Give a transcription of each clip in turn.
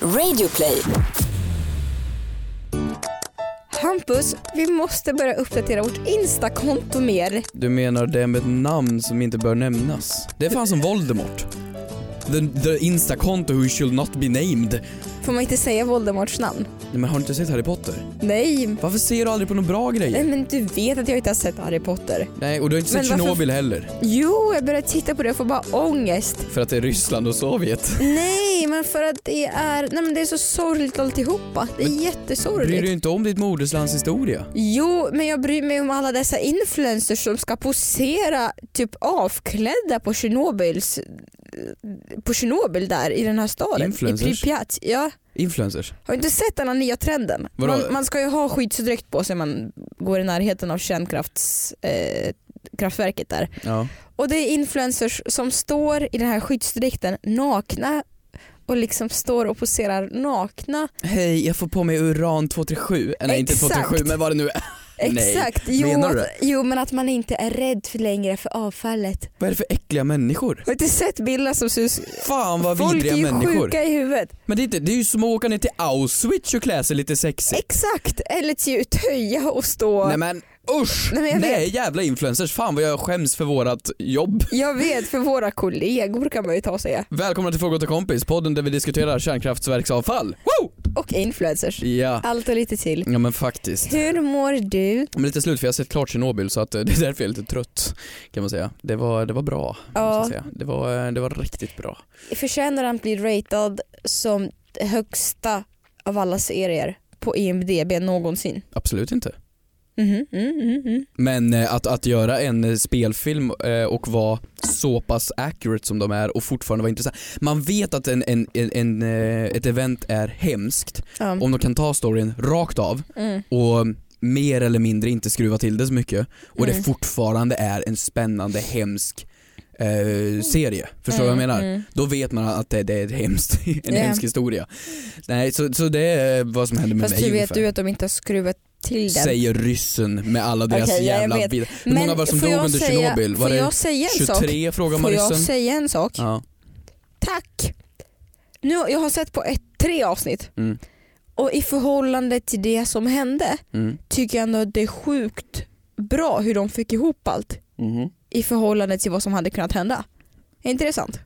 Radioplay. Hampus, vi måste börja uppdatera vårt Insta-konto mer. Du menar det med ett namn som inte bör nämnas? Det är fan som Voldemort. The, the instakonto who should not be named. Nej, Får man inte säga Voldemorts namn? men har du inte sett Harry Potter? Nej. Varför ser du aldrig på några bra grejer? Nej, men du vet att jag inte har sett Harry Potter. Nej, och du har inte sett Eh, Men varför- Tjernobyl heller. Jo, jag började titta på det och får bara ångest. För att det är Ryssland och Sovjet. Nej, men för att det är, nej men det är så sorgligt alltihopa. Det är Bryr du jättesorgligt. inte om ditt moderslands historia? Jo, men jag bryr mig om alla dessa influencers som ska posera typ avklädda på Tjernobyls på Tjernobyl där i den här staden. I Influencers? Pripyat. Ja. Influencers. Har du inte sett den här nya trenden? Vadå? Man, man ska ju ha skyddsdräkt på sig när man går i närheten av kärnkraftskraftverket eh, kraftverket där. Ja. Och det är influencers som står i den här skyddsdräkten nakna och liksom står och poserar nakna. Hej, jag får på mig uran 237. Eh, Nej, inte Exakt. 237 men vad det nu är. Nej, Exakt, jo, menar du att, jo men att man inte är rädd för längre för avfallet. Vad är det för äckliga människor? Har du inte sett bilder som ser ut Fan vad Folk är vidriga ju människor. Typ. sjuka i huvudet. Men det är, inte, det är ju som att åka ner till Auschwitz och klä sig lite sexigt. Exakt, eller till töja och stå. Nej men usch! Nej, men jag Nej jävla influencers, fan vad jag skäms för vårat jobb. Jag vet, för våra kollegor kan man ju ta och säga. Välkomna till Fråga till kompis, podden där vi diskuterar kärnkraftverksavfall. Woo! Och influencers. Ja, Allt och lite till. ja men faktiskt. Hur mår du? Men lite slut för jag har sett klart Tjernobyl så att eh, det är därför jag är lite trött kan man säga. Det var, det var bra. måste jag Ja, säga. Det, var, eh, det var riktigt bra. förtjänar han att bli ratad som högsta av alla serier på IMDB någonsin? Absolut inte. Mhm, mm, mm, mm. Men eh, att, att göra en eh, spelfilm eh, och vara så pass accurate som de är och fortfarande vara intressant. Man vet att en, en, en, en, eh, ett event är hemskt Ja. om de kan ta storyn rakt av Mm. och mer eller mindre inte skruva till det så mycket och det Mm. fortfarande är en spännande hemsk eh, serie. Förstår du vad jag Mm, menar? mm. Då vet man att det, det är ett hemskt, en Ja. hemsk historia. Nej, så, så det är vad som händer med Fast mig hur vet ungefär. du att de inte har skruvat till den? Säger ryssen med alla deras Okej, ja, jag jävla vet. bilder. Hur många var det som får dog jag under säga- Tjernobyl? Var Får det jag säga en sak? 23 frågar man Får jag ryssen? säga en sak? Ja. Tack! Nu, jag har sett på ett, tre avsnitt Mm. och i förhållande till det som hände Mm. tycker jag ändå att det är sjukt bra hur de fick ihop allt i förhållande till vad som hade kunnat hända. Är inte det sant?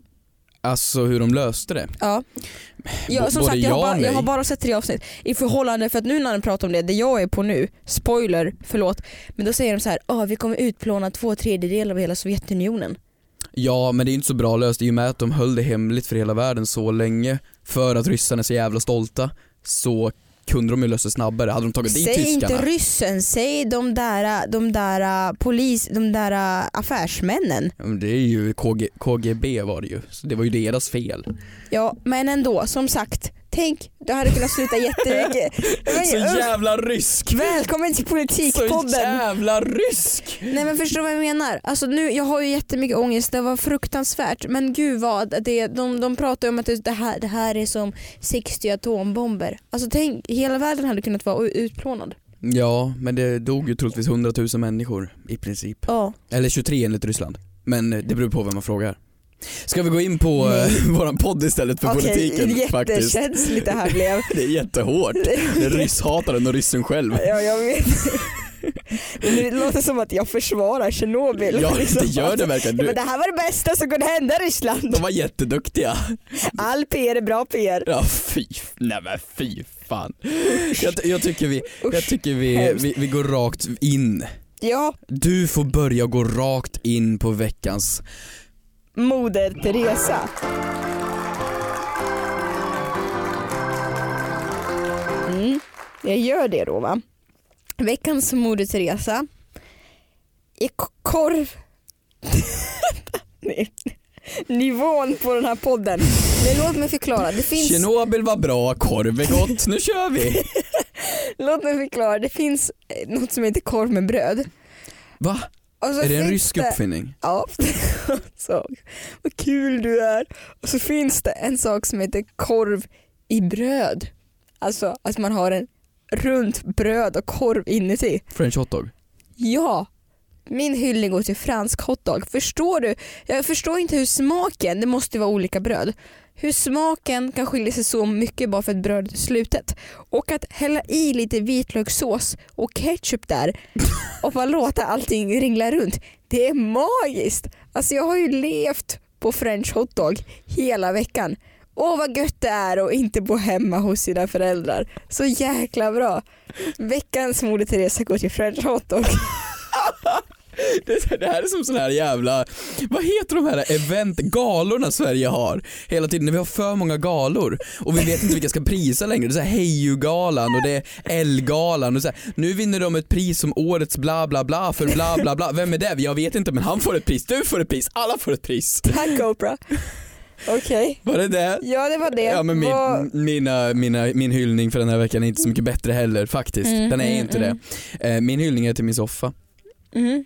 Alltså hur de löste det. Ja. Jag, B- som både sagt, jag, ja har och bara, jag nej. har bara sett tre avsnitt. I förhållande, för att nu när de pratar om det, det jag är på nu, spoiler, förlåt, men då säger de så här, "Ah, vi kommer utplåna två tredjedelar av hela Sovjetunionen. Ja men det är inte så bra löst i och med att de höll det hemligt för hela världen så länge för att ryssarna är så jävla stolta så kunde de ju lösa det snabbare. Hade de tagit dit Säg tyskarna? inte ryssen, säg de där, de där äh, polis, de där äh, affärsmännen. Ja, men det är ju KG, KGB var det ju, så det var ju deras fel. Ja, men ändå, som sagt, tänk, du hade kunnat sluta jättemycket. Men, Så usch, jävla rysk! Välkommen till Så politikpodden! jävla rysk! Nej men förstår du vad jag menar? Alltså nu, jag har ju jättemycket ångest, det var fruktansvärt men gud vad, det, de, de pratar ju om att det det här, det här är som 60 atombomber. Alltså tänk, hela världen hade kunnat vara u- utplånad. Ja, men det dog ju troligtvis 100 000 människor i princip. Ja. Eller 23 enligt Ryssland. Men eh, det beror på vem man frågar. Ska vi gå in på Nej. eh, våran podd istället för politiken faktiskt? jättekänsligt det här blev. Det är jättehårt. Det är rysshataren och ryssen själv. Ja, jag vet. Det låter som att jag försvarar Tjernobyl. Ja, Liksom. det gör det verkligen. Ja, Du, men det här var det bästa som kunde hända Ryssland. de var jätteduktiga. All PR är bra PR. Ja, fy, nej men fy fan. Jag, ty- jag tycker, vi, jag Usch. tycker vi, hemskt. vi, vi går rakt in. Ja, Du får börja gå rakt in på veckans Moder Teresa. Mm, jag gör det då va. Veckans Moder Teresa är k- korv. Nej. Nivån på den här podden. Men låt mig förklara. Det finns... Tjernobyl var bra, korv är gott, nu kör vi! Låt mig förklara, det finns eh, något som heter korv med bröd. Va? Och så Är det en finns rysk uppfinning? Ja, så, vad kul du är. Och så finns det en sak som heter korv i bröd. Alltså att man har en runt bröd och korv inuti. French hotdog? Ja, Min hyllning går till fransk hotdog. Förstår du? Jag förstår inte hur smaken, det måste ju vara olika bröd, hur smaken kan skilja sig så mycket bara för att brödet är slutet. Och att hälla i lite vitlökssås och ketchup där och bara låta allting ringla runt. Det är magiskt! Alltså jag har ju levt på french hotdog hela veckan. Åh vad gött det är att inte bo hemma hos sina föräldrar. Så jäkla bra. Veckans Moder Teresa går till french hotdog. Det, är så- det här är som sån här jävla, vad heter de här event, galorna Sverige har? Hela tiden när vi har för många galor och vi vet inte vilka ska prisa längre. Det är såhär Heju-galan och det är L-galan och så här, nu vinner de ett pris som årets bla bla bla för bla bla bla. Vem är det? Jag vet inte men han får ett pris, du får ett pris, alla får ett pris. Tack Oprah. Okej. Var det det? Ja det var det. Ja men min, Vad- mina, mina, min hyllning för den här veckan är inte så mycket bättre heller faktiskt. Mm, den är mm, inte mm. det. Eh, min hyllning är till min soffa. Mm.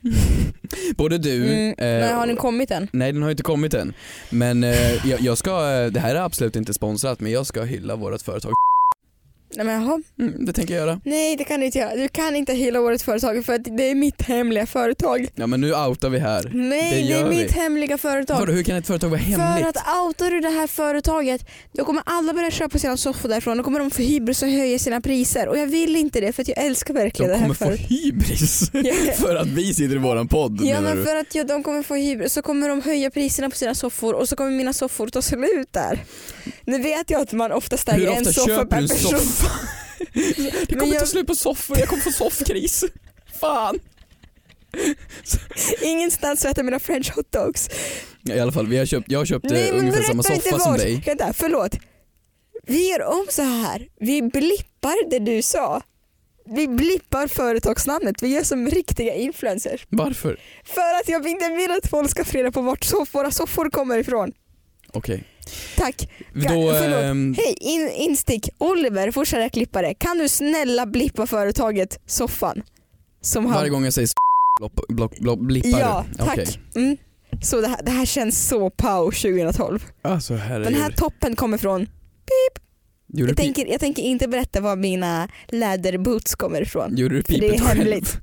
Både du Mm. Men eh, har den kommit än? Nej den har ju inte kommit än. Men eh, jag, jag ska, eh, det här är absolut inte sponsrat men jag ska hylla vårt företag. Nej men jaha. Mm, det tänker jag göra. Nej det kan du inte göra. Du kan inte hylla årets företag för att det är mitt hemliga företag. Ja men nu outar vi här. Det Nej det, är gör vi. mitt hemliga företag. Vadå, hur kan ett företag vara För hemligt? att outar du det här företaget då kommer alla börja köpa sina soffor därifrån. Då kommer de få hybris och höja sina priser. Och jag vill inte det för att jag älskar verkligen De det här kommer få företaget. hybris Ja. för att vi sitter i våran podd Ja menar men du? för att ja, de kommer få hybris så kommer de höja priserna på sina soffor och så kommer mina soffor ta slut där. Nu vet jag att man oftast Hur äger en ofta soffa köper du per en person. soffa? Det kommer jag- ta slut på soffor, jag kommer få soffkris. Fan. Ingenstans så äter mina french hotdogs. I alla fall, vi har köpt, jag har köpt eh, ungefär samma berätta soffa som vad- dig. Vänta, förlåt. Vi gör om så här. Vi blippar det du sa. Vi blippar företagsnamnet. Vi gör som riktiga influencers. Varför? För att jag inte vill att folk ska få reda på vart soff- våra soffor kommer ifrån. Okej. Tack. Då, förlåt. ehm, Hej, in, instick. Oliver, vår kära klippare. Kan du snälla blippa företaget Soffan? Som han... varje gång jag säger s- blopp, blopp, blopp, blippar Ja, du? tack. Okej. Mm. Så det här, det här känns så pow 2012. Alltså herregud. Den här toppen kommer från... Jag Gjorde du pi- tänker, jag tänker inte berätta var mina läderboots kommer ifrån. Gjorde du För det är pipet själv? hemligt.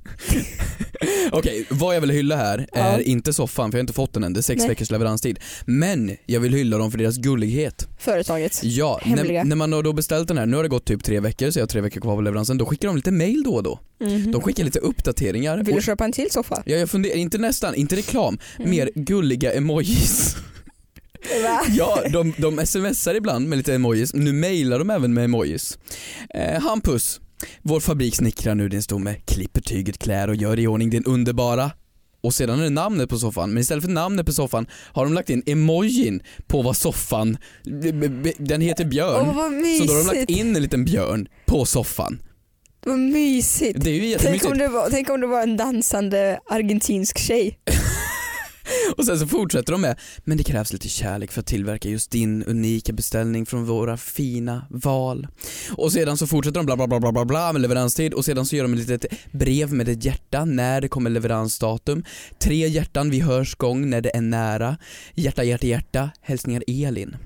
Okej, vad jag vill hylla här är inte soffan för jag har inte fått den än, det är sex Nej. veckors leveranstid. Men jag vill hylla dem för deras gullighet. Företaget. Ja, Hemliga. när, när man har då beställt den här, nu har det gått typ tre veckor så jag har tre veckor kvar på leveransen, då skickar de lite mail då och då. Mhm. De skickar lite uppdateringar. Vill och, du köpa en till soffa? ja, jag funderar, inte nästan, inte reklam, Mm. mer gulliga emojis. Va? Ja, de, de smsar ibland med lite emojis, nu mailar de även med emojis. Eh, Hampus, vår fabrik snickrar nu din stomme, klipper tyget, klär och gör i ordning din underbara. Och sedan är det namnet på soffan, men istället för namnet på soffan har de lagt in emojin på vad soffan, b- b- b- den heter Åh björn. vad Så mysigt. då har de lagt in en liten björn på soffan. Vad mysigt. Det är ju Tänk om, jättemysigt. det var, tänk om det var en dansande argentinsk tjej. Och sen så fortsätter de med, men det krävs lite kärlek för att tillverka just din unika beställning från våra fina val. Och sedan så fortsätter de bla bla bla bla bla, bla med leveranstid och sedan så gör de ett litet brev med ett hjärta när det kommer leveransdatum. Tre hjärtan vid hörs gång när det är nära. Hjärta, hjärta, hjärta. Hälsningar Elin.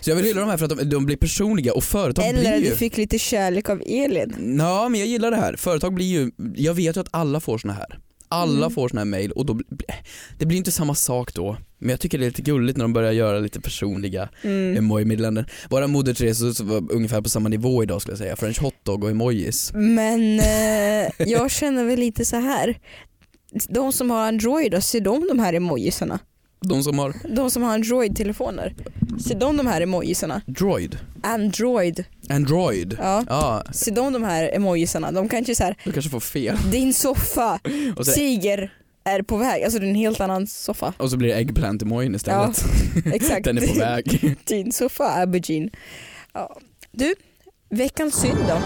Så jag vill hylla de här för att de, de blir personliga och företag Eller blir du ju... fick lite kärlek av Elin. Ja men jag gillar det här. Företag blir ju, jag vet ju att alla får såna här. Alla Mm. får såna här mail och då, bli- det blir inte samma sak då. Men jag tycker det är lite gulligt när de börjar göra lite personliga Mm. emoji-meddelanden. Våra Moder Teresa så var ungefär på samma nivå idag skulle jag säga. French hotdog och emojis. Men eh, jag känner väl lite så här. De som har Android, då, ser de de här emojisarna? De som har De som har Android-telefoner, ser de de här emojisarna? droid, Android, android. ja. Ja, Ser de de här emojisarna? De kanske så här, du kanske får fel. din soffa, Och så, tiger är på väg. Alltså det är en helt annan soffa. och så blir det eggplant-emojin istället. Exakt. Den är på väg. Din soffa, aubergine. Ja. Du, veckans synd då?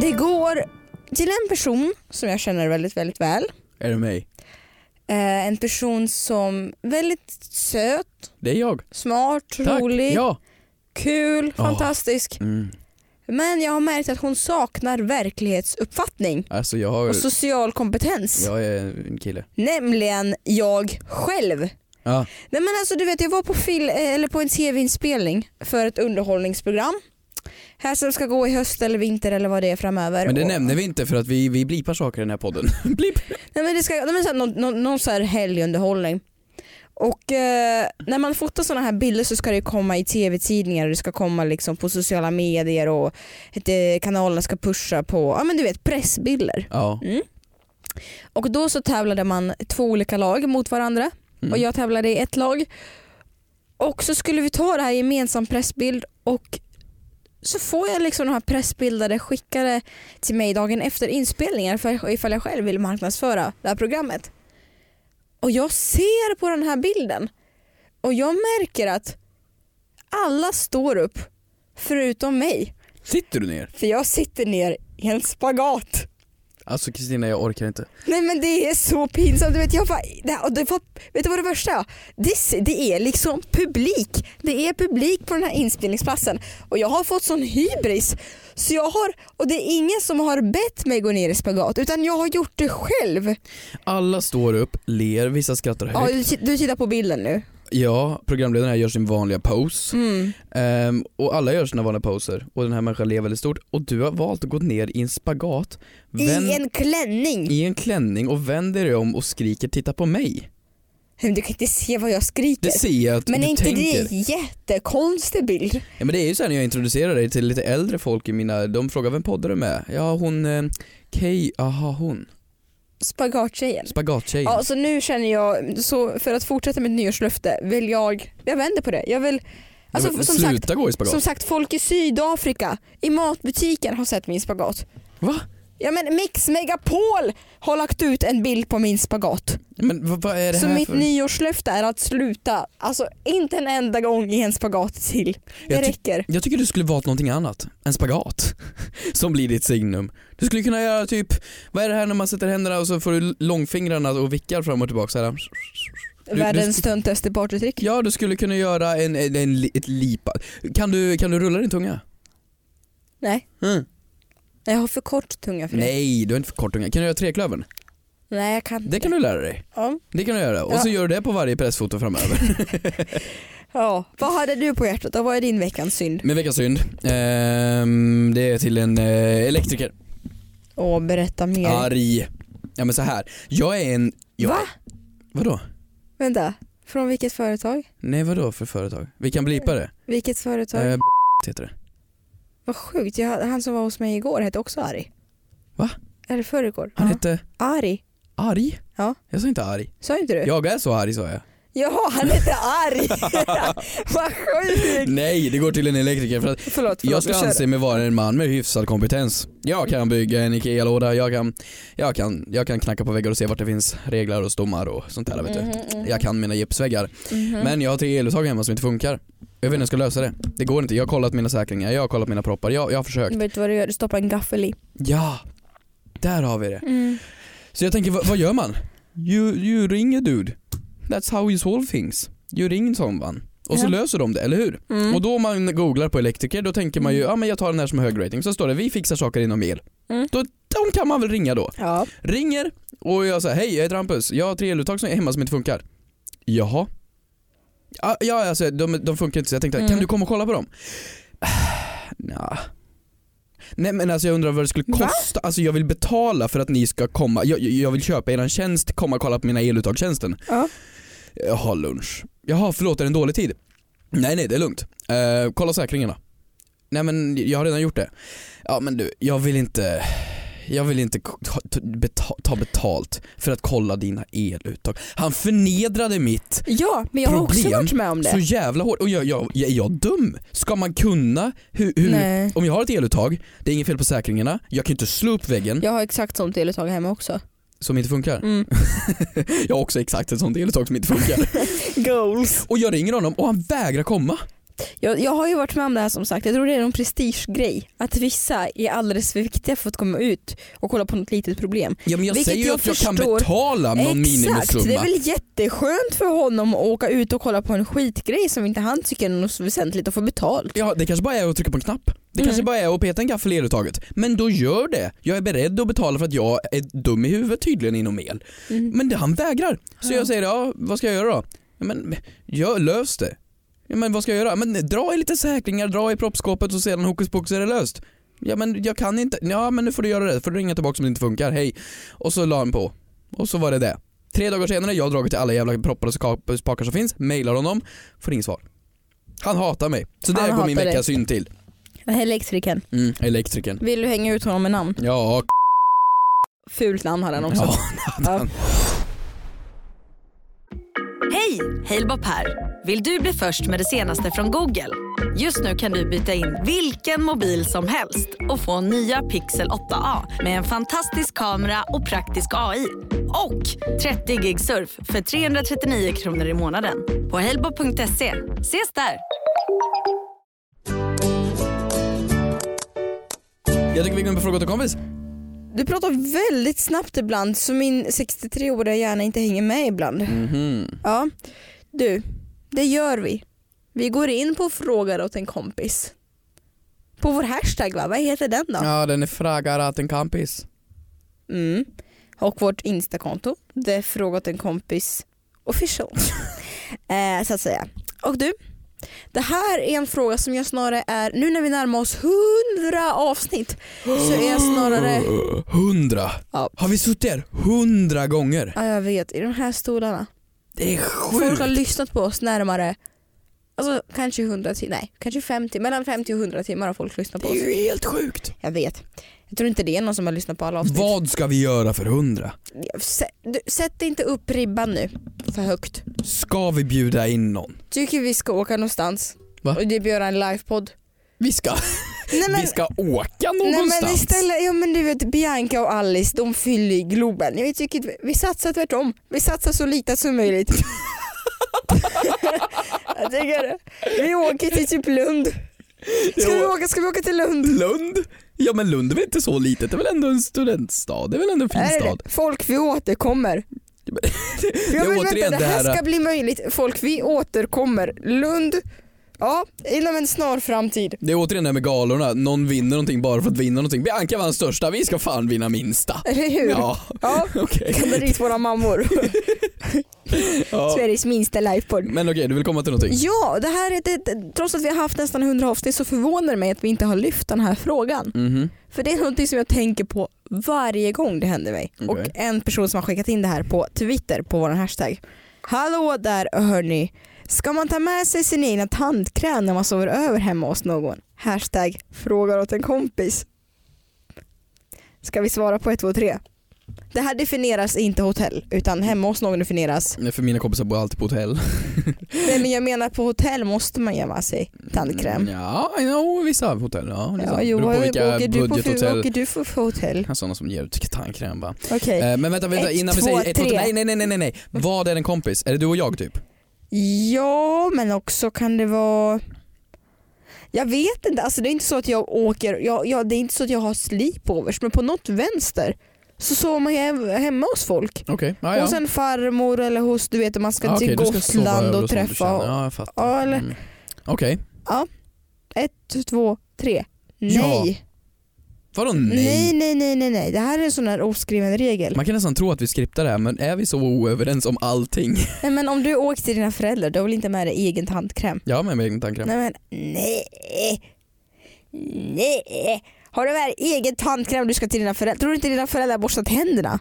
Det går till en person som jag känner väldigt, väldigt väl. är det mig? Eh, en person som väldigt söt, Det är jag. smart, Tack. rolig, Ja. kul, Ja. fantastisk. Mm. Men jag har märkt att hon saknar verklighetsuppfattning Alltså jag har, och social kompetens. jag är en kille. Nämligen jag själv. Ja. eh, Nej men alltså du vet jag var på, fil- eller på en tv-inspelning för ett underhållningsprogram Här som ska gå i höst eller vinter eller vad det är Mm. framöver. Men det Och- nämner vi inte för att vi, vi blipar saker i den här podden. Blip! Nej, men det ska, nej, men så här, någon, någon, någon så här helgunderhållning. Och eh, när man fotar sådana här bilder så ska det komma i tv-tidningar och det ska komma liksom på sociala medier och ett, eh, kanalerna ska pusha på, ja men du vet pressbilder. Ja. Och då så tävlade man två olika lag mot varandra Mm. och jag tävlade i ett lag. Och så skulle vi ta det här gemensam pressbild och så får jag liksom de här pressbilderna skickade till mig dagen efter inspelningar för ifall jag själv vill marknadsföra det här programmet. Och jag ser på den här bilden och jag märker att alla står upp förutom mig. Sitter du ner? För jag sitter ner i en spagat. Alltså Kristina, jag orkar inte. Nej men det är så pinsamt. Du vet, jag bara, det här, och det var, vet du vad det värsta är? Det, det är liksom publik. Det är publik på den här inspelningsplatsen. Och jag har fått sån hybris. Så jag har, och det är ingen som har bett mig gå ner i spagat utan jag har gjort det själv. Alla står upp, ler, vissa skrattar Ja, högt. du, ki- du tittar på bilden nu. Ja, programledaren här gör sin vanliga pose. Mm. Ehm, och alla gör sina vanliga poser. Och den här människan ler väldigt stort. Och du har valt att gå ner i en spagat. Vänd- I en klänning. i en klänning och vänder dig om och skriker titta på mig. Men Du kan inte se vad jag skriker. Det ser jag att Men du är inte tänker. det en jättekonstig bild? Ja, men det är ju så här när jag introducerar dig till lite äldre folk i mina, de frågar vem poddar du med? Ja hon, eh, Kay, aha hon, Spagattjejen. Spagattjejen. Ja, så nu känner jag, så för att fortsätta mitt nyårslöfte vill jag, jag vänder på det. Jag vill, alltså, Ja, men som, sluta sagt, gå i spagat. som sagt, folk i Sydafrika i matbutiken har sett min spagat. Va? Ja men Mix Megapol har lagt ut en bild på min spagat. Men vad, vad är det Så här mitt för? nyårslöfte är att sluta, alltså inte en enda gång i en spagat till. Det Jag ty- räcker. Jag tycker du skulle valt någonting annat än spagat som blir ditt signum. Du skulle kunna göra typ, vad är det här när man sätter händerna och så får du långfingrarna och vickar fram och tillbaka så här. du- du- Världens töntigaste partytrick. Ja du skulle kunna göra en, en, en li- ett lipa. Kan du, kan du rulla din tunga? Nej, Mm. jag har för kort tunga för det. Nej, du är inte för kort tunga. Kan du göra treklövern? Nej jag kan Det kan du lära dig. Ja. Det kan du göra. Och så Ja. gör du det på varje pressfoto framöver. ja. Vad hade du på hjärtat och vad är din veckans synd? Min veckans synd, ehm, det är till en eh, elektriker. Åh berätta mer. Arg. Ja men så här. jag är en... Jag, Va? Vadå? Vänta, från vilket företag? Nej vadå för företag? Vi kan blipa det. Vilket företag? Eh, heter det. Vad sjukt, jag, han som var hos mig igår hette också Ari. Va? Eller förrgår. Han ja. hette Ari, Arg? Ja. Jag sa inte arg. sa inte du? Jag är så arg sa jag. Jaha, han hette Ari. Vad sjukt. Nej det går till en elektriker för att Förlåt, förlåt. Jag skulle kör. Mm. anse mig vara en man med hyfsad kompetens. Jag kan bygga en IKEA-låda, jag kan, jag, kan, jag kan knacka på väggar och se vart det finns reglar och stommar och sånt där vet du. Mhm, mhm. Jag kan mina gipsväggar. Mhm. Men jag har tre eluttag hemma som inte funkar. Jag vet inte hur jag ska lösa det. Det går inte. Jag har kollat mina säkringar, jag har kollat mina proppar, jag, jag har försökt. Vet du vad du gör? Du stoppar en gaffel i. Ja! Där har vi det. Så jag tänker, vad, vad gör man? You, you ring a dude. That's how you solve things. You ring someone. Och så Ja. löser de det, eller hur? Mm. Och då om man googlar på elektriker då tänker man ju, ja men jag tar den här som är hög rating, så står det vi fixar saker inom el. Mm. Då, de kan man väl ringa då. Ja. Ringer och jag säger, hej jag heter Hampus, jag har tre eluttag som är hemma som inte funkar. Jaha? Ja, ja alltså, de, de funkar inte så jag tänkte, Mm. kan du komma och kolla på dem? Nja. Nej men alltså jag undrar vad det skulle Va? kosta, alltså jag vill betala för att ni ska komma, jag, jag- jag vill köpa eran tjänst, komma och kolla på mina eluttagstjänsten. ja. Jag har lunch. Jaha, förlåt är det en dålig tid? Nej, nej det är lugnt. Eh, kolla säkringarna. Nej men jag har redan gjort det. Ja men du, jag vill inte, jag vill inte k- ta, ta- beta- ta betalt för att kolla dina eluttag. Han förnedrade mitt ja, men jag har också Problem. varit med om det. så jävla hårt. Och jag, jag, jag, är jag dum? Ska man kunna hur, hur Nej. om jag har ett eluttag, det är inget fel på säkringarna, jag kan ju inte slå upp väggen Jag har exakt sånt eluttag hemma också. som inte funkar. Mm. Jag har också exakt ett sånt eluttag som inte funkar. Goals. och jag ringer honom och han vägrar komma. Jag, jag har ju varit med om det här som sagt, jag tror det är någon prestigegrej. Att vissa är alldeles för viktiga för att komma ut och kolla på något litet problem. Ja men jag Vilket säger ju jag att jag kan förstår. betala någon Exakt, det är minimisumma. väl jätteskönt för honom att åka ut och kolla på en skitgrej som inte han tycker är något så väsentligt och få betalt. Ja, det kanske bara är att trycka på en knapp. Det Mm. kanske bara är att peta en gaffel i eluttaget. Men då gör det. Jag är beredd att betala för att jag är dum i huvudet tydligen inom el. Mm. Men det, han vägrar. Så Ja. jag säger, ja vad ska jag göra då? Ja, Men gör, lös det. Ja, men vad ska jag göra? Men dra i lite säkringar, dra i proppskåpet och sedan hokus pokus är det löst. Ja men jag kan inte, ja men nu får du göra det, får du ringa tillbaka om det inte funkar, hej. Och så la han på. Och så var det det. Tre dagar senare, jag har dragit till alla jävla proppar och skap- spakar som finns, mailar honom, får inget svar. Han hatar mig. Så Han där går min hatar dig. vecka syn till. Elektrikern. Mm, elektrikern. Vill du hänga ut honom med namn? Ja, k- Fult namn hade han också. ja. Ja. Hej! Halebop här. Vill du bli först med det senaste från Google? Just nu kan du byta in vilken mobil som helst och få nya Pixel 8A med en fantastisk kamera och praktisk AI. Och 30 gig surf för 339 kronor i månaden på halebop.se. Ses där! Jag tycker vi går in på fråga till kompis. Du pratar väldigt snabbt ibland så min 63-åriga hjärna inte hänger med ibland. Mhm. Ja, du, det gör vi. Vi går in på frågar åt en kompis. På vår hashtag va? Vad heter den då? Ja den är fraggar åt en kompis. Mm. Och vårt instakonto, det är fråga åt en kompis official. eh, så att säga. Och du, det här är en fråga som jag snarare är, nu när vi närmar oss 100 avsnitt så är jag snarare Hundra. Ja. Har vi suttit här hundra gånger? Ja jag vet, i de här stolarna. Det är Folk sjukt. har lyssnat på oss närmare Alltså kanske 100 timmar, nej kanske 50, mellan 50 och 100 timmar har folk lyssnat på Det oss. är ju helt sjukt. Jag vet. Jag tror inte det är någon som har lyssnat på alla avsnitt. Vad ska vi göra för hundra? Sä- du, sätt inte upp ribban nu för högt. Ska vi bjuda in någon? Tycker vi ska åka någonstans Va? och typ göra en livepodd. Vi ska, Nej men, vi ska åka nej, någonstans. men istället, ja men du vet Bianca och Alice de fyller ju Globen. Jag tycker att vi- vi satsar tvärtom. Vi satsar så lite som möjligt. Jag tycker det. Vi åker till typ Lund. Ska vi Jo. åka, ska vi åka till Lund? Lund? Ja men Lund är väl inte så litet? Det är väl ändå en studentstad? Det är väl ändå en fin Är det stad? det? Folk vi återkommer. Ja, men vänta, återigen det det här här- ska bli möjligt. Folk vi återkommer. Lund, ja inom en snar framtid. Det är återigen det här med galorna, någon vinner någonting bara för att vinna någonting. Bianca vann största, vi ska fan vinna minsta. Eller hur? Ja, Ja. okej. Kommer dit våra mammor. Ja. Sveriges minsta lifepodd. Men okej, du vill komma till någonting? Ja, det här är det, trots att vi har haft nästan 100 avsnitt så förvånar det mig att vi inte har lyft den här frågan. Mhm. För det är någonting som jag tänker på varje gång det händer mig. Okej. Och en person som har skickat in det här på Twitter på vår hashtag. Hallå där hörni. Ska man ta med sig sin egna tandkräm när man sover över hemma hos någon? Hashtag frågar åt en kompis. Ska vi svara på 1, 2, 3? Det här definieras inte hotell utan hemma hos någon definieras. Nej, För mina kompisar bor alltid på hotell. Nej men jag menar på hotell måste man gömma sig tandkräm. Mm, Ja, jo, vissa hotell. Ja, det är Ja, sant. jo, liksom, Beror på vad vilka åker du, på för, budgethotell. åker du för, för hotell? Ja, Sådana som ger ut tandkräm va. Okej. Eh, Men vänta, vänta Ett, innan vi två, säger ett, två, tre. tre. Nej, nej, nej, nej, nej, nej. Vad är en kompis? Är det du och jag typ? Ja, men också kan det vara... Jag vet inte, alltså det är inte så att jag åker, jag, jag, det är inte så att jag har sleepovers men på något vänster så sover man ju hem- hemma hos folk. Okej, Ah, ja, ja. Hos en farmor eller hos, du vet man ska Ja, till okej, du ska sova Gotland över och hos någon du träffa. känner. Ja, jag fattar. Ja, eller- Mm. Okej, Ett, två, tre. Ja. Nej. vadå nej, nej? nej, nej, nej, nej. Det här är en sån här oskriven regel. Man kan nästan tro att vi skriptar det här men är vi så oöverens om allting? Nej, men om du åker till dina föräldrar, du har väl inte med dig egen tandkräm? Jag har med mig egen tandkräm. Nej men nej. Nej. Har du med egen tandkräm du ska till dina föräldrar? Tror du inte dina föräldrar har borstat händerna?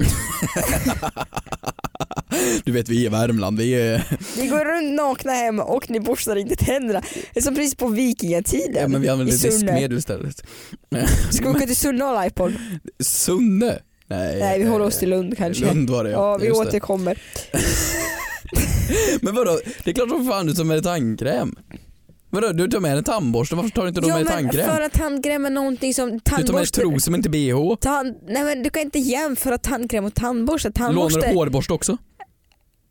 Du vet vi är i Värmland, vi är... Ni går runt nakna hem och ni borstar inte tänderna. Det är som precis på vikingatiden. Ja, men vi använder I Sunne. diskmedel istället. Ska vi åka till Sunne och ha livepod? Sunne? Nej, Nej vi håller oss till Lund kanske. Lund var det Ja vi just det. återkommer. Men vadå, det är klart som fan du tar med dig tandkräm. Vadå, du tar med dig tandborste, varför tar du inte då med dig tandkräm? att tandkräm är någonting som Du tar med dig trosor men inte bh. Tand, nej men du kan inte jämföra tandkräm och tandborste. Lånar du hårborste också?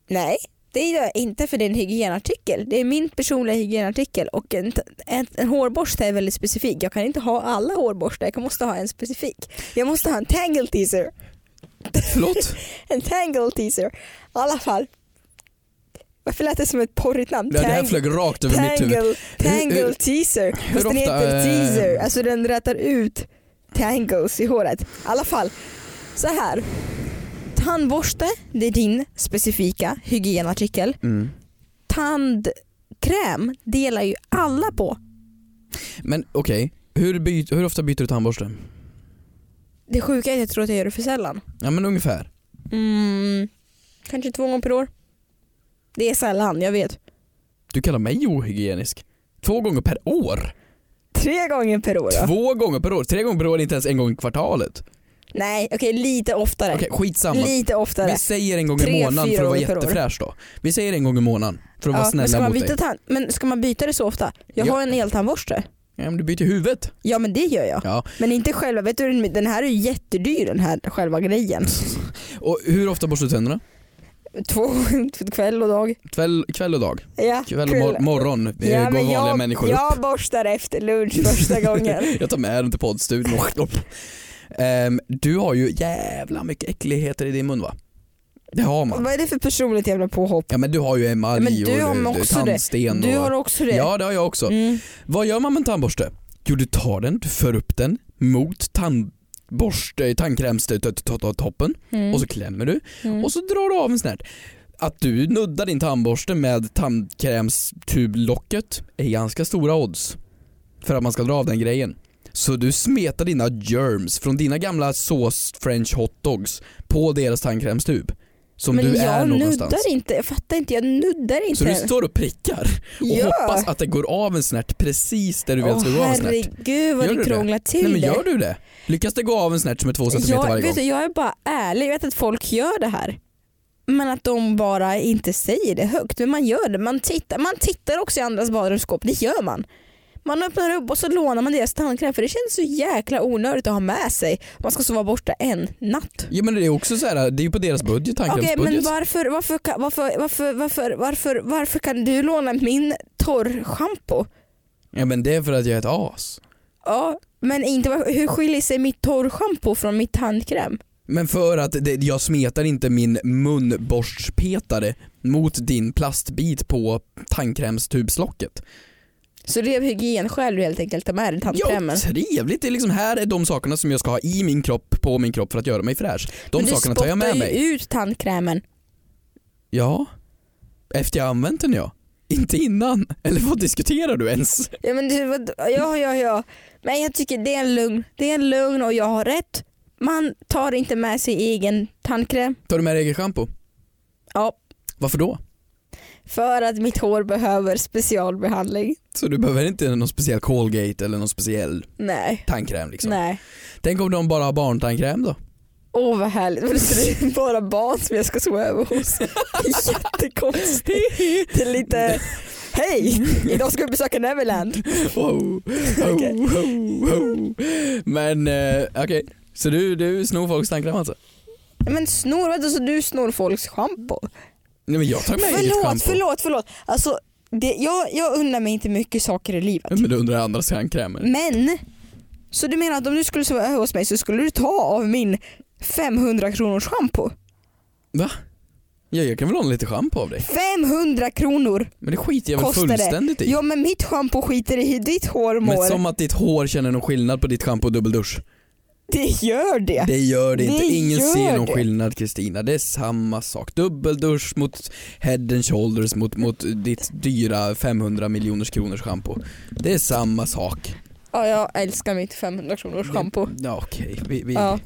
Nej, det gör jag inte för det är en hygienartikel. Det är min personliga hygienartikel och en, en, en hårborste är väldigt specifik. Jag kan inte ha alla hårborstar, jag måste ha en specifik. Jag måste ha en tangle teaser. Förlåt? En tangle teaser. I alla fall. Varför lät det som ett porrigt namn? Ja, det här Tang- flög rakt över mitt huvud. tangle, Hur- tangle hur- teaser. Fast den ofta, heter eh, teaser, alltså den rätar ut tangles i håret. I alla fall, så här. Tandborste, det är din specifika hygienartikel. Mm. tandkräm tandkräm delar ju alla på. Men okej, hur, byt- hur ofta byter du tandborste? Det sjuka är att jag tror att jag gör det för sällan. Ja men ungefär. Mm, kanske två gånger per år. Det är sällan, jag vet. Du kallar mig ohygienisk. Två gånger per år? Tre gånger per år då? Två gånger per år? Tre gånger per år är inte ens en gång i kvartalet. Nej, okej lite oftare. Okej, skitsamma. Lite oftare. Vi säger en gång Tre, i månaden fyra för att vara gånger per år. jättefräsch då. Vi säger en gång i månaden för att vara men, ska snälla man mot byta dig. tand- men ska man byta det så ofta? Jag Ja. har en eltandborste. Ja, men du byter huvudet. Ja men det gör jag. Ja. Men inte själva, vet du den- den här är ju jättedyr den här själva grejen. Och hur ofta borstar du tänderna? Två kväll och dag. Kväll, kväll och dag? Ja, Kväll och mor- morgon eh, går men vanliga jag, människor upp. Jag borstar efter lunch första gången. Jag tar med den till poddstudion. Ehm, du har ju jävla mycket äckligheter i din mun va? Det har man. Vad är det för personligt jävla påhopp? Ja men du har ju emalj Men du har och eh, också det. tandsten Du och... har också det? Ja det har jag också. Mm. Vad gör man med en tandborste? Jo du tar den, du för upp den mot tandborste, tandkrämstoppen Mm. och så klämmer du Mm. och så drar du av en snärt. Att du nuddar din tandborste med tandkrämstublocket är ganska stora odds för att man ska dra av den grejen. Så du smetar dina germs från dina gamla sås french hotdogs på deras tandkrämstub. Som men du jag är någonstans. nuddar inte, jag fattar inte, jag nuddar inte. Så du står och prickar och Ja. hoppas att det går av en snärt precis där du vill att det ska gå Åh, av en snärt. herregud vad Gör det du det? krånglar till Nej men det. gör du det? Lyckas det gå av en snärt som är två centimeter jag, varje gång? vet du, jag är bara ärlig, jag vet att folk gör det här. Men att de bara inte säger det högt. Men man gör det. Man tittar, man tittar också i andras badrumsskåp, det gör man. Man öppnar upp och så lånar man deras tandkräm för det känns så jäkla onödigt att ha med sig. Man ska sova borta en natt. Ja men det är också så här, det är ju på deras budget, Okej men tandkrämsbudget. varför, varför, ka- varför, varför, varför, varför, varför kan du låna min torrschampo? ja men det är för att jag är ett as. Ja, men inte, varför- hur skiljer sig mitt torrschampo från mitt tandkräm? Men för att det, jag smetar inte min munborstspetare mot din plastbit på tandkrämstubslocket. Så det är av hygienskäl du helt enkelt tar med dig Ja, tandkrämen? trevligt! Det är liksom, här är de sakerna som jag ska ha i min kropp, på min kropp för att göra mig fräsch. De Men sakerna tar jag med Du mig. spottar ju ut tandkrämen. Ja, efter jag använt den ja. Inte innan. Eller vad diskuterar du ens? Ja, men det, vad- ja, ja, ja. Men jag tycker det är en lugn. Det är en lugn och jag har rätt. Man tar inte med sig egen tandkräm. Tar du med dig eget shampoo? Ja. Varför då? För att mitt hår behöver specialbehandling. Så du behöver inte någon speciell Colgate eller någon speciell Nej. tandkräm liksom? Nej. Tänk om de bara har barntandkräm då? Åh vad härligt. Men det är bara barn som jag ska sova över hos. Jättekonstigt. Det är lite, hej, Mm. idag ska vi besöka Neverland. Wow. Wow, Okej. wow, wow. Men eh, okej, så du, du snor folks tandkräm alltså? Men snor, vadå så du snor folks schampo? Nej men jag tar med eget Förlåt, shampoo. förlåt, förlåt. Alltså, det, jag, jag undrar mig inte mycket saker i livet. Men du undrar andras tandkrämer? Men, så du menar att om du skulle sova över hos mig så skulle du ta av min 500 kronors schampo? Ja, jag kan väl låna lite schampo av dig? 500 kronor! Men det skiter jag väl Kostar det? fullständigt i? Ja men mitt schampo skiter i hur ditt hår mår. Men som att ditt hår känner någon skillnad på ditt schampo och dubbeldusch. Det gör det. Det gör det inte, Det ingen gör ser någon det. skillnad Kristina. Det är samma sak. Dubbeldusch mot head and shoulders mot, mot ditt dyra 500 miljoners kronors schampo. Det är samma sak. Ja, jag älskar mitt 500 kronors schampo. Ja, Okej, vi, vi Ja.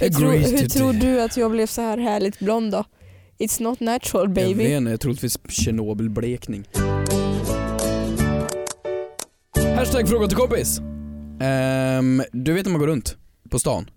Hur, tror, agree to hur tror that. du att jag blev så här härligt blond då? It's not natural Jag baby. vet inte, jag tror att det finns Tjernobylblekning. Hashtag fråga till kompis. Ehm, du vet när man går runt på stan?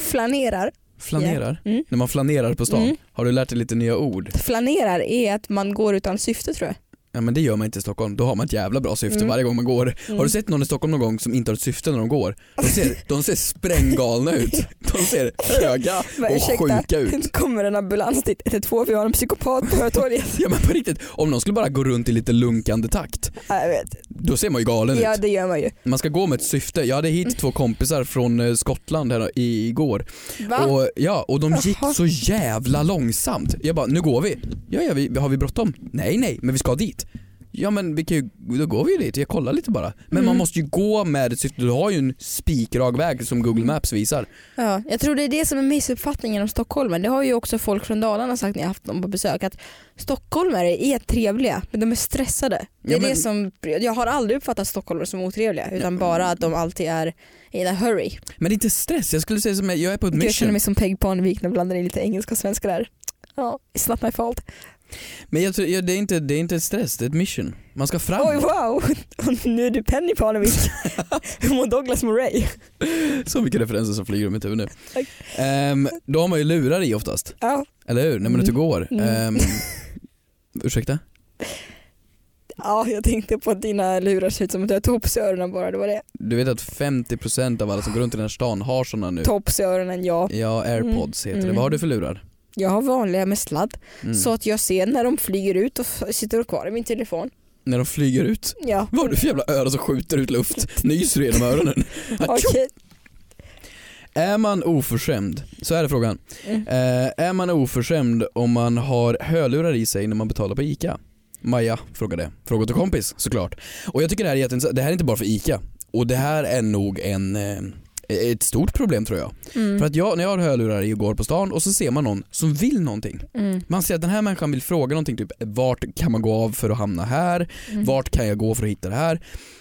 Flanerar. Flanerar? Mm. När man flanerar på stan, Mm. har du lärt dig lite nya ord? Flanerar är att man går utan syfte tror jag. Ja men det gör man inte i Stockholm, då har man ett jävla bra syfte Mm. varje gång man går. Mm. Har du sett någon i Stockholm någon gång som inte har ett syfte när de går? De ser, de ser spränggalna ut. De ser höga Men och sjuka ut. Nu kommer en ambulans dit 112, vi har en psykopat på Hötorget. Ja men på riktigt, om någon skulle bara gå runt i lite lunkande takt, Ja, jag vet. då ser man ju galen ut. Ja det gör man ju. Man ska gå med ett syfte. Jag hade Mm. hit två kompisar från eh, Skottland här i, igår. Va? Och, ja, och de gick Jaha. så jävla långsamt. Jag bara, nu går vi. Ja, ja vi, har vi bråttom? Nej, nej, men vi ska dit. Ja men vi kan ju, då går vi ju dit, jag kollar lite bara. Men man Mm. måste ju gå med ett syfte, du har ju en spikrak väg som Google Maps visar. Ja, jag tror det är det som är missuppfattningen om stockholmare. Det har ju också folk från Dalarna sagt när jag haft dem på besök att stockholmare är trevliga men de är stressade. Det är Ja, men- det som, jag har aldrig uppfattat stockholmare som otrevliga utan bara att de alltid är i en hurry. Men det är inte stress, jag skulle säga som jag är på ett Gud, jag känner mission. mig som Peg Parnevik när jag blandar in lite engelska och svenska där. Ja, it's not my fault. Men jag tror, ja, det, är inte, det är inte stress, det är ett mission. Man ska fram. Oj wow, och nu är du Penny Parnevik. Hur mår Douglas Murray? Så mycket referenser som flyger om mitt huvud nu. Tack. Ehm, då har man ju lurar i oftast, Ja, eller hur? När man är ute och går. Mm. Ehm, ursäkta? ja, jag tänkte på att dina lurar ser ut som att du har tops i öronen bara, det var det. Du vet att 50% av alla som går runt i den här stan har sådana nu. Tops i öronen, ja. Ja, airpods heter det. Mm. Vad har du för lurar? Jag har vanliga med sladd. Mm. så att jag ser när de flyger ut och f- sitter kvar i min telefon. När de flyger ut? Ja, Vad har du för jävla öra som skjuter ut luft? Nyser du genom öronen? Atjo! okej. Är man oförskämd? Så här är frågan. Mm. Eh, är man oförskämd om man har hörlurar i sig när man betalar på ICA? Maja frågade. Fråga till kompis såklart. Och jag tycker det här är jätteintressant. Det här är inte bara för ICA. Och det här är nog en, eh, ett stort problem tror jag. Mm. För att jag, när jag har hörlurar i och går på stan och så ser man någon som vill någonting. Mm. Man ser att den här människan vill fråga någonting, typ vart kan man gå av för att hamna här? Mm. Vart kan jag gå för att hitta det här?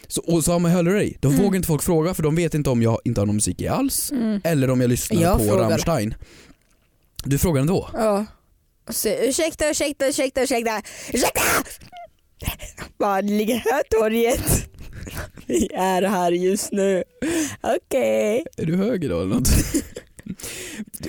Så, och så har man hörlurar i. Då Mm. vågar inte folk fråga för de vet inte om jag inte har någon musik i alls Mm. eller om jag lyssnar Jag på frågar. Rammstein. Du frågar ändå? Ja. Och Så, ursäkta, ursäkta, ursäkta, ursäkta, ursäkta! Bara ligger här torget. Vi är här just nu. Okej. Är du höger då eller något?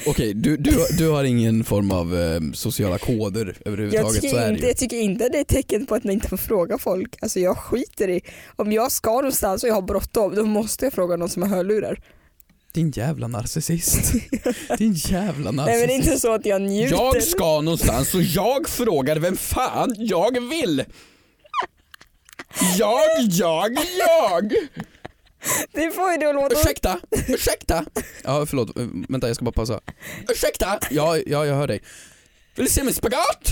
Okej, du, du, du har ingen form av eh, sociala koder Jag, överhuvudtaget, så tycker är det inte- ju. jag tycker inte det är tecken på att man inte får fråga folk. Alltså jag skiter i. Om jag ska någonstans och jag har bråttom då måste jag fråga någon som har hörlurar. Din jävla narcissist. Din jävla Nej men det är narcissist. inte så att jag njuter. Alltså, Jag ska någonstans och jag frågar vem fan jag vill. Jag, jag, jag. Det får ju du att låta Ursäkta, ursäkta. Ja, förlåt. Eh, Vänta, jag ska bara pausa. Ursäkta! Ja, ja jag hör dig. Vill du se min spagat?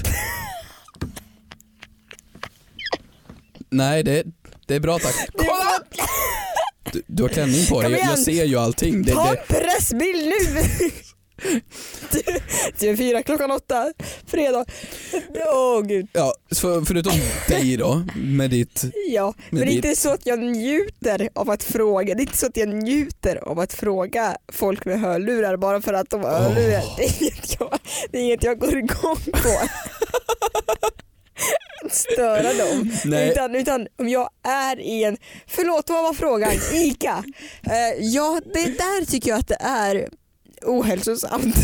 Nej, det, det är bra tack. Kolla! Du, du har klänning på dig, Kom jag, jag igen. ser ju allting. Det, Ta det, en pressbild nu! Du är fyra klockan åtta, fredag. Åh gud. ja, för, förutom dig då, med ditt... Ja, men, Men det det- är inte så att jag njuter av att fråga. Det är inte så att jag njuter av att fråga folk med hörlurar bara för att de har hörlurar. Åh. Det, är inget jag, det är inget jag går igång på. Att Störa dem. Nej. Utan, utan om jag är i en, förlåt vad var frågan? ICA? Eh, ja, det där tycker jag att det är ohälsosamt.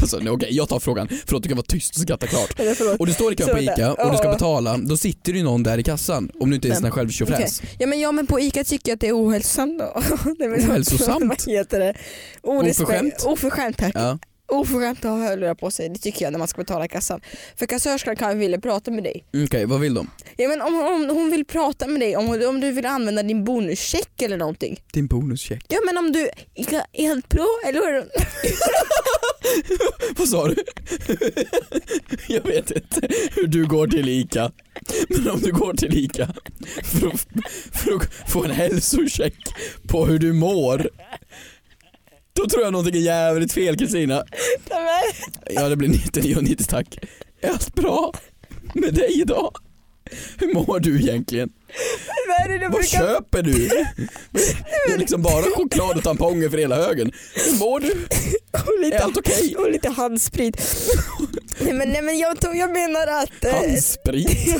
Alltså, nej, okej, jag tar frågan. Förlåt, du kan vara tyst och skratta klart. Eller förlåt. Och du står i kön Så på vänta. ICA och du ska Ja. betala, då sitter det ju någon där i kassan. Om du inte ens är en självtjofräs. Ja men, ja men på ICA tycker jag att det är ohälsosamt då. Det är väl- Ohälsosamt? Vad heter det? Orespekt- Oförskämt? Oförskämt tack. Ja. Oförskämt att ha hörlurar på sig, det tycker jag när man ska betala i kassan. För kassörskan kan vilja prata med dig. Okej, vad vill de? Ja, men om, om hon vill prata med dig, om, om du vill använda din bonuscheck eller någonting. Din bonuscheck. Ja men om du är helt pro eller? Vad sa du? Jag vet inte hur du går till ICA. Men om du går till ICA för att, för att få en hälsocheck på hur du mår. Då tror jag någonting är jävligt fel Kristina. Nej, men, Ja det blir 99 tack. Är allt bra med dig idag? Hur mår du egentligen? vad är det du Vad brukar... köper du? Det är liksom bara choklad och tamponger för hela högen. Hur mår du? Och Är lite, allt okej? och lite handsprit. nej men, nej, men jag, tror- jag menar att... eh, Handsprit?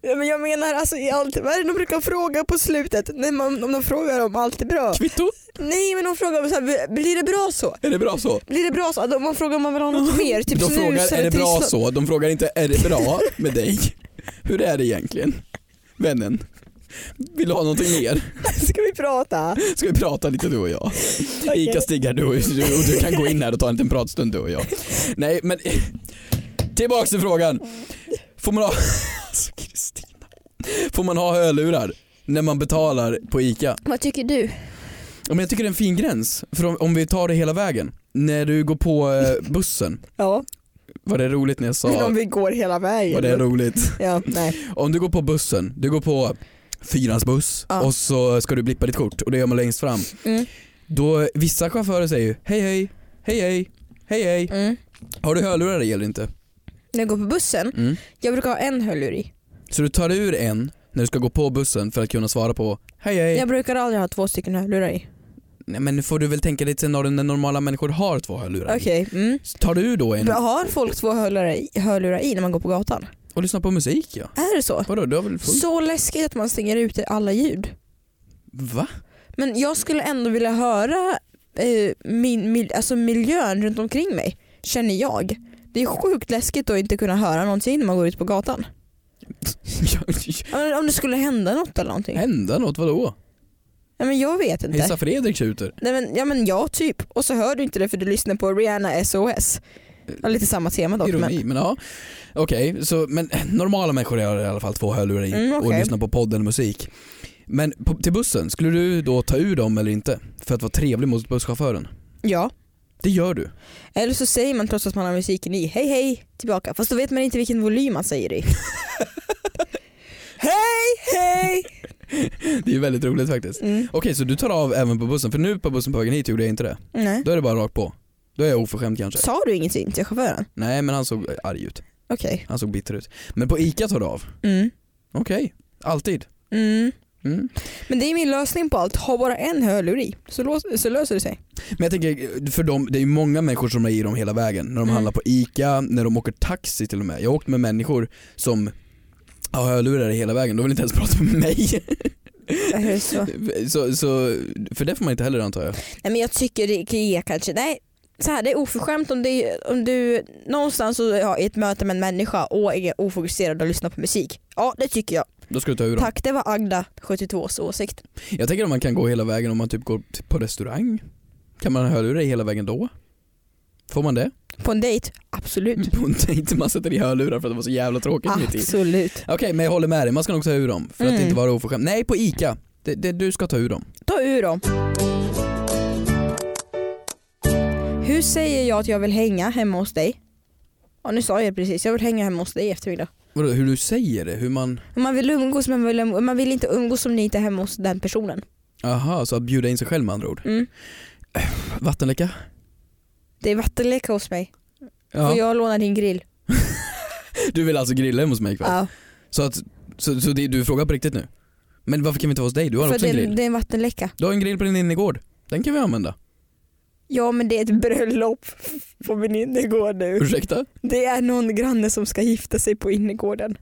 Ja, men jag menar alltså i allt, vad är det de brukar fråga på slutet? När man, om de frågar om allt är bra? Kvitto? Nej men de frågar så här, blir det bra så? Är det bra så? Blir det bra så? Alltså, Man frågar om man vill ha något mer, typ de snus frågar är eller det bra trisslotter." så, de frågar inte är det bra med dig? Hur är det egentligen? Vännen? Vill du ha någonting mer? Ska vi prata? Ska vi prata lite du och jag? Okej. Ica Stig här du och, du, och du kan gå in här och ta en liten pratstund du och jag. Nej men tillbaks till frågan. Får man ha, alltså Kristina. Får man ha hörlurar när man betalar på Ica? Vad tycker du? Ja, Men jag tycker det är en fin gräns, för om, om vi tar det hela vägen. När du går på eh, bussen Ja. Var det roligt när jag Men sa? om vi går hela vägen. Var det roligt? ja, nej. Om du går på bussen, du går på fyrans buss Ja. och så ska du blippa ditt kort och det gör man längst fram. Mm. Då, vissa chaufförer säger ju hej hej, hej hej, hej hej. Mm. Har du hörlurar i eller inte? När jag går på bussen, Mm. jag brukar ha en hörlur i. Så du tar ur en när du ska gå på bussen för att kunna svara på hej hej. Jag brukar aldrig ha två stycken hörlurar i. Nej, men nu får du väl tänka dig ett scenario när normala människor har två hörlurar i. Okej. Mm. Så Tar du ur då en Men Har folk två hörlurar i, hörlurar i när man går på gatan? och lyssnar på musik ja. Är det så? Vadå, du har väl fullt? Så läskigt att man stänger ute alla ljud. Va? Men jag skulle ändå vilja höra eh, min, mil, alltså miljön runt omkring mig, känner jag. Det är sjukt läskigt att inte kunna höra någonting när man går ut på gatan. Ja, men Om det skulle hända något eller någonting. Hända något, vadå? Ja, men jag vet inte. Hejsa Fredrik tjuter. Nej, men, ja men ja typ. Och så hör du inte det för du lyssnar på Rihanna SOS. Ja, lite samma tema dock. Men, Ironi, men ja. Okej, så, men normala människor har i alla fall två hörlurar i Mm, okej. och lyssnar på podden och musik. Men på, till bussen, skulle du då ta ur dem eller inte? För att vara trevlig mot busschauffören? ja. Det gör du. Eller så säger man trots att man har musiken i, hej hej, tillbaka. Fast då vet man inte vilken volym man säger i. hej hej! Det är ju väldigt roligt faktiskt. Mm. Okej, så du tar av även på bussen? För nu på bussen på vägen hit gjorde jag inte det. Nej. Då är det bara rakt på. Då är jag oförskämd kanske. Sa du ingenting till chauffören? Nej men han såg arg ut. Okej. Han såg bitter ut. Men på ICA tar du av? Mm. Okej. Alltid. Mm. Mm. Men det är min lösning på allt, ha bara en hörlur i så, lås- så löser det sig. Men jag tänker, för dem, det är ju många människor som är i dem hela vägen. När de Mm. handlar på ICA, när de åker taxi till och med. Jag har åkt med människor som har hörlurar i hela vägen, de vill inte ens prata med mig. Är det så? Så, så, för det får man inte heller antar jag. Nej men jag tycker det är kanske, nej så här, det är oförskämt om, det, om du någonstans så, ja, i ett möte med en människa och är ofokuserad och lyssnar på musik. Ja det tycker jag. Då ska du ta ur dem. Tack det var Agda 72s åsikt. Jag tänker om man kan gå hela vägen om man typ går t- på restaurang. Kan man ha hörlurar i hela vägen då? Får man det? På en dejt? Absolut. På en dejt man sätter i hörlurar för att det var så jävla tråkigt mitt Mm. i. Ah, Absolut. Okej men jag håller med dig, man ska nog ta ur dem för att Mm. inte vara oförskämd. Nej på ICA, det, det, du ska ta ur dem. Ta ur dem. Hur säger jag att jag vill hänga hemma hos dig? Ja nu sa jag det precis, jag vill hänga hemma hos dig i eftermiddag. Vadå, hur du säger det? Hur man... Man vill umgås men man vill, umgås, man vill inte umgås om ni inte är hemma hos den personen. Aha, så att bjuda in sig själv med andra ord. Mm. Vattenläcka? Det är vattenleka hos mig. Ja. Och jag lånar din grill. Du vill alltså grilla hemma hos mig ikväll? Så, att, så, så det, du frågar på riktigt nu? Men varför kan vi inte vara hos dig? Du har För också det, en är- grill. det är en vattenläcka. Du har en grill på din innergård. Den kan vi använda. Ja men det är ett bröllop på min innergård nu. Ursäkta? Det är någon granne som ska gifta sig på innergården.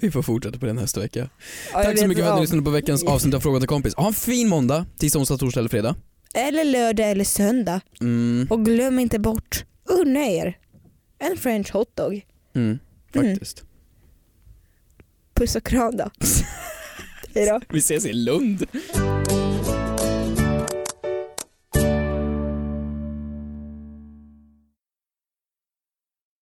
Vi får fortsätta på den nästa vecka. Ja, jag Tack så vet mycket för att vad. ni lyssnade på veckans avsnitt av Fråga till kompis. Ha en fin måndag, tisdag, onsdag, torsdag eller fredag. Eller lördag eller söndag. Mm, Och glöm inte bort, unna er en french hotdog. mm, Mm. faktiskt. Puss och kram då. Hejdå. Vi ses i Lund.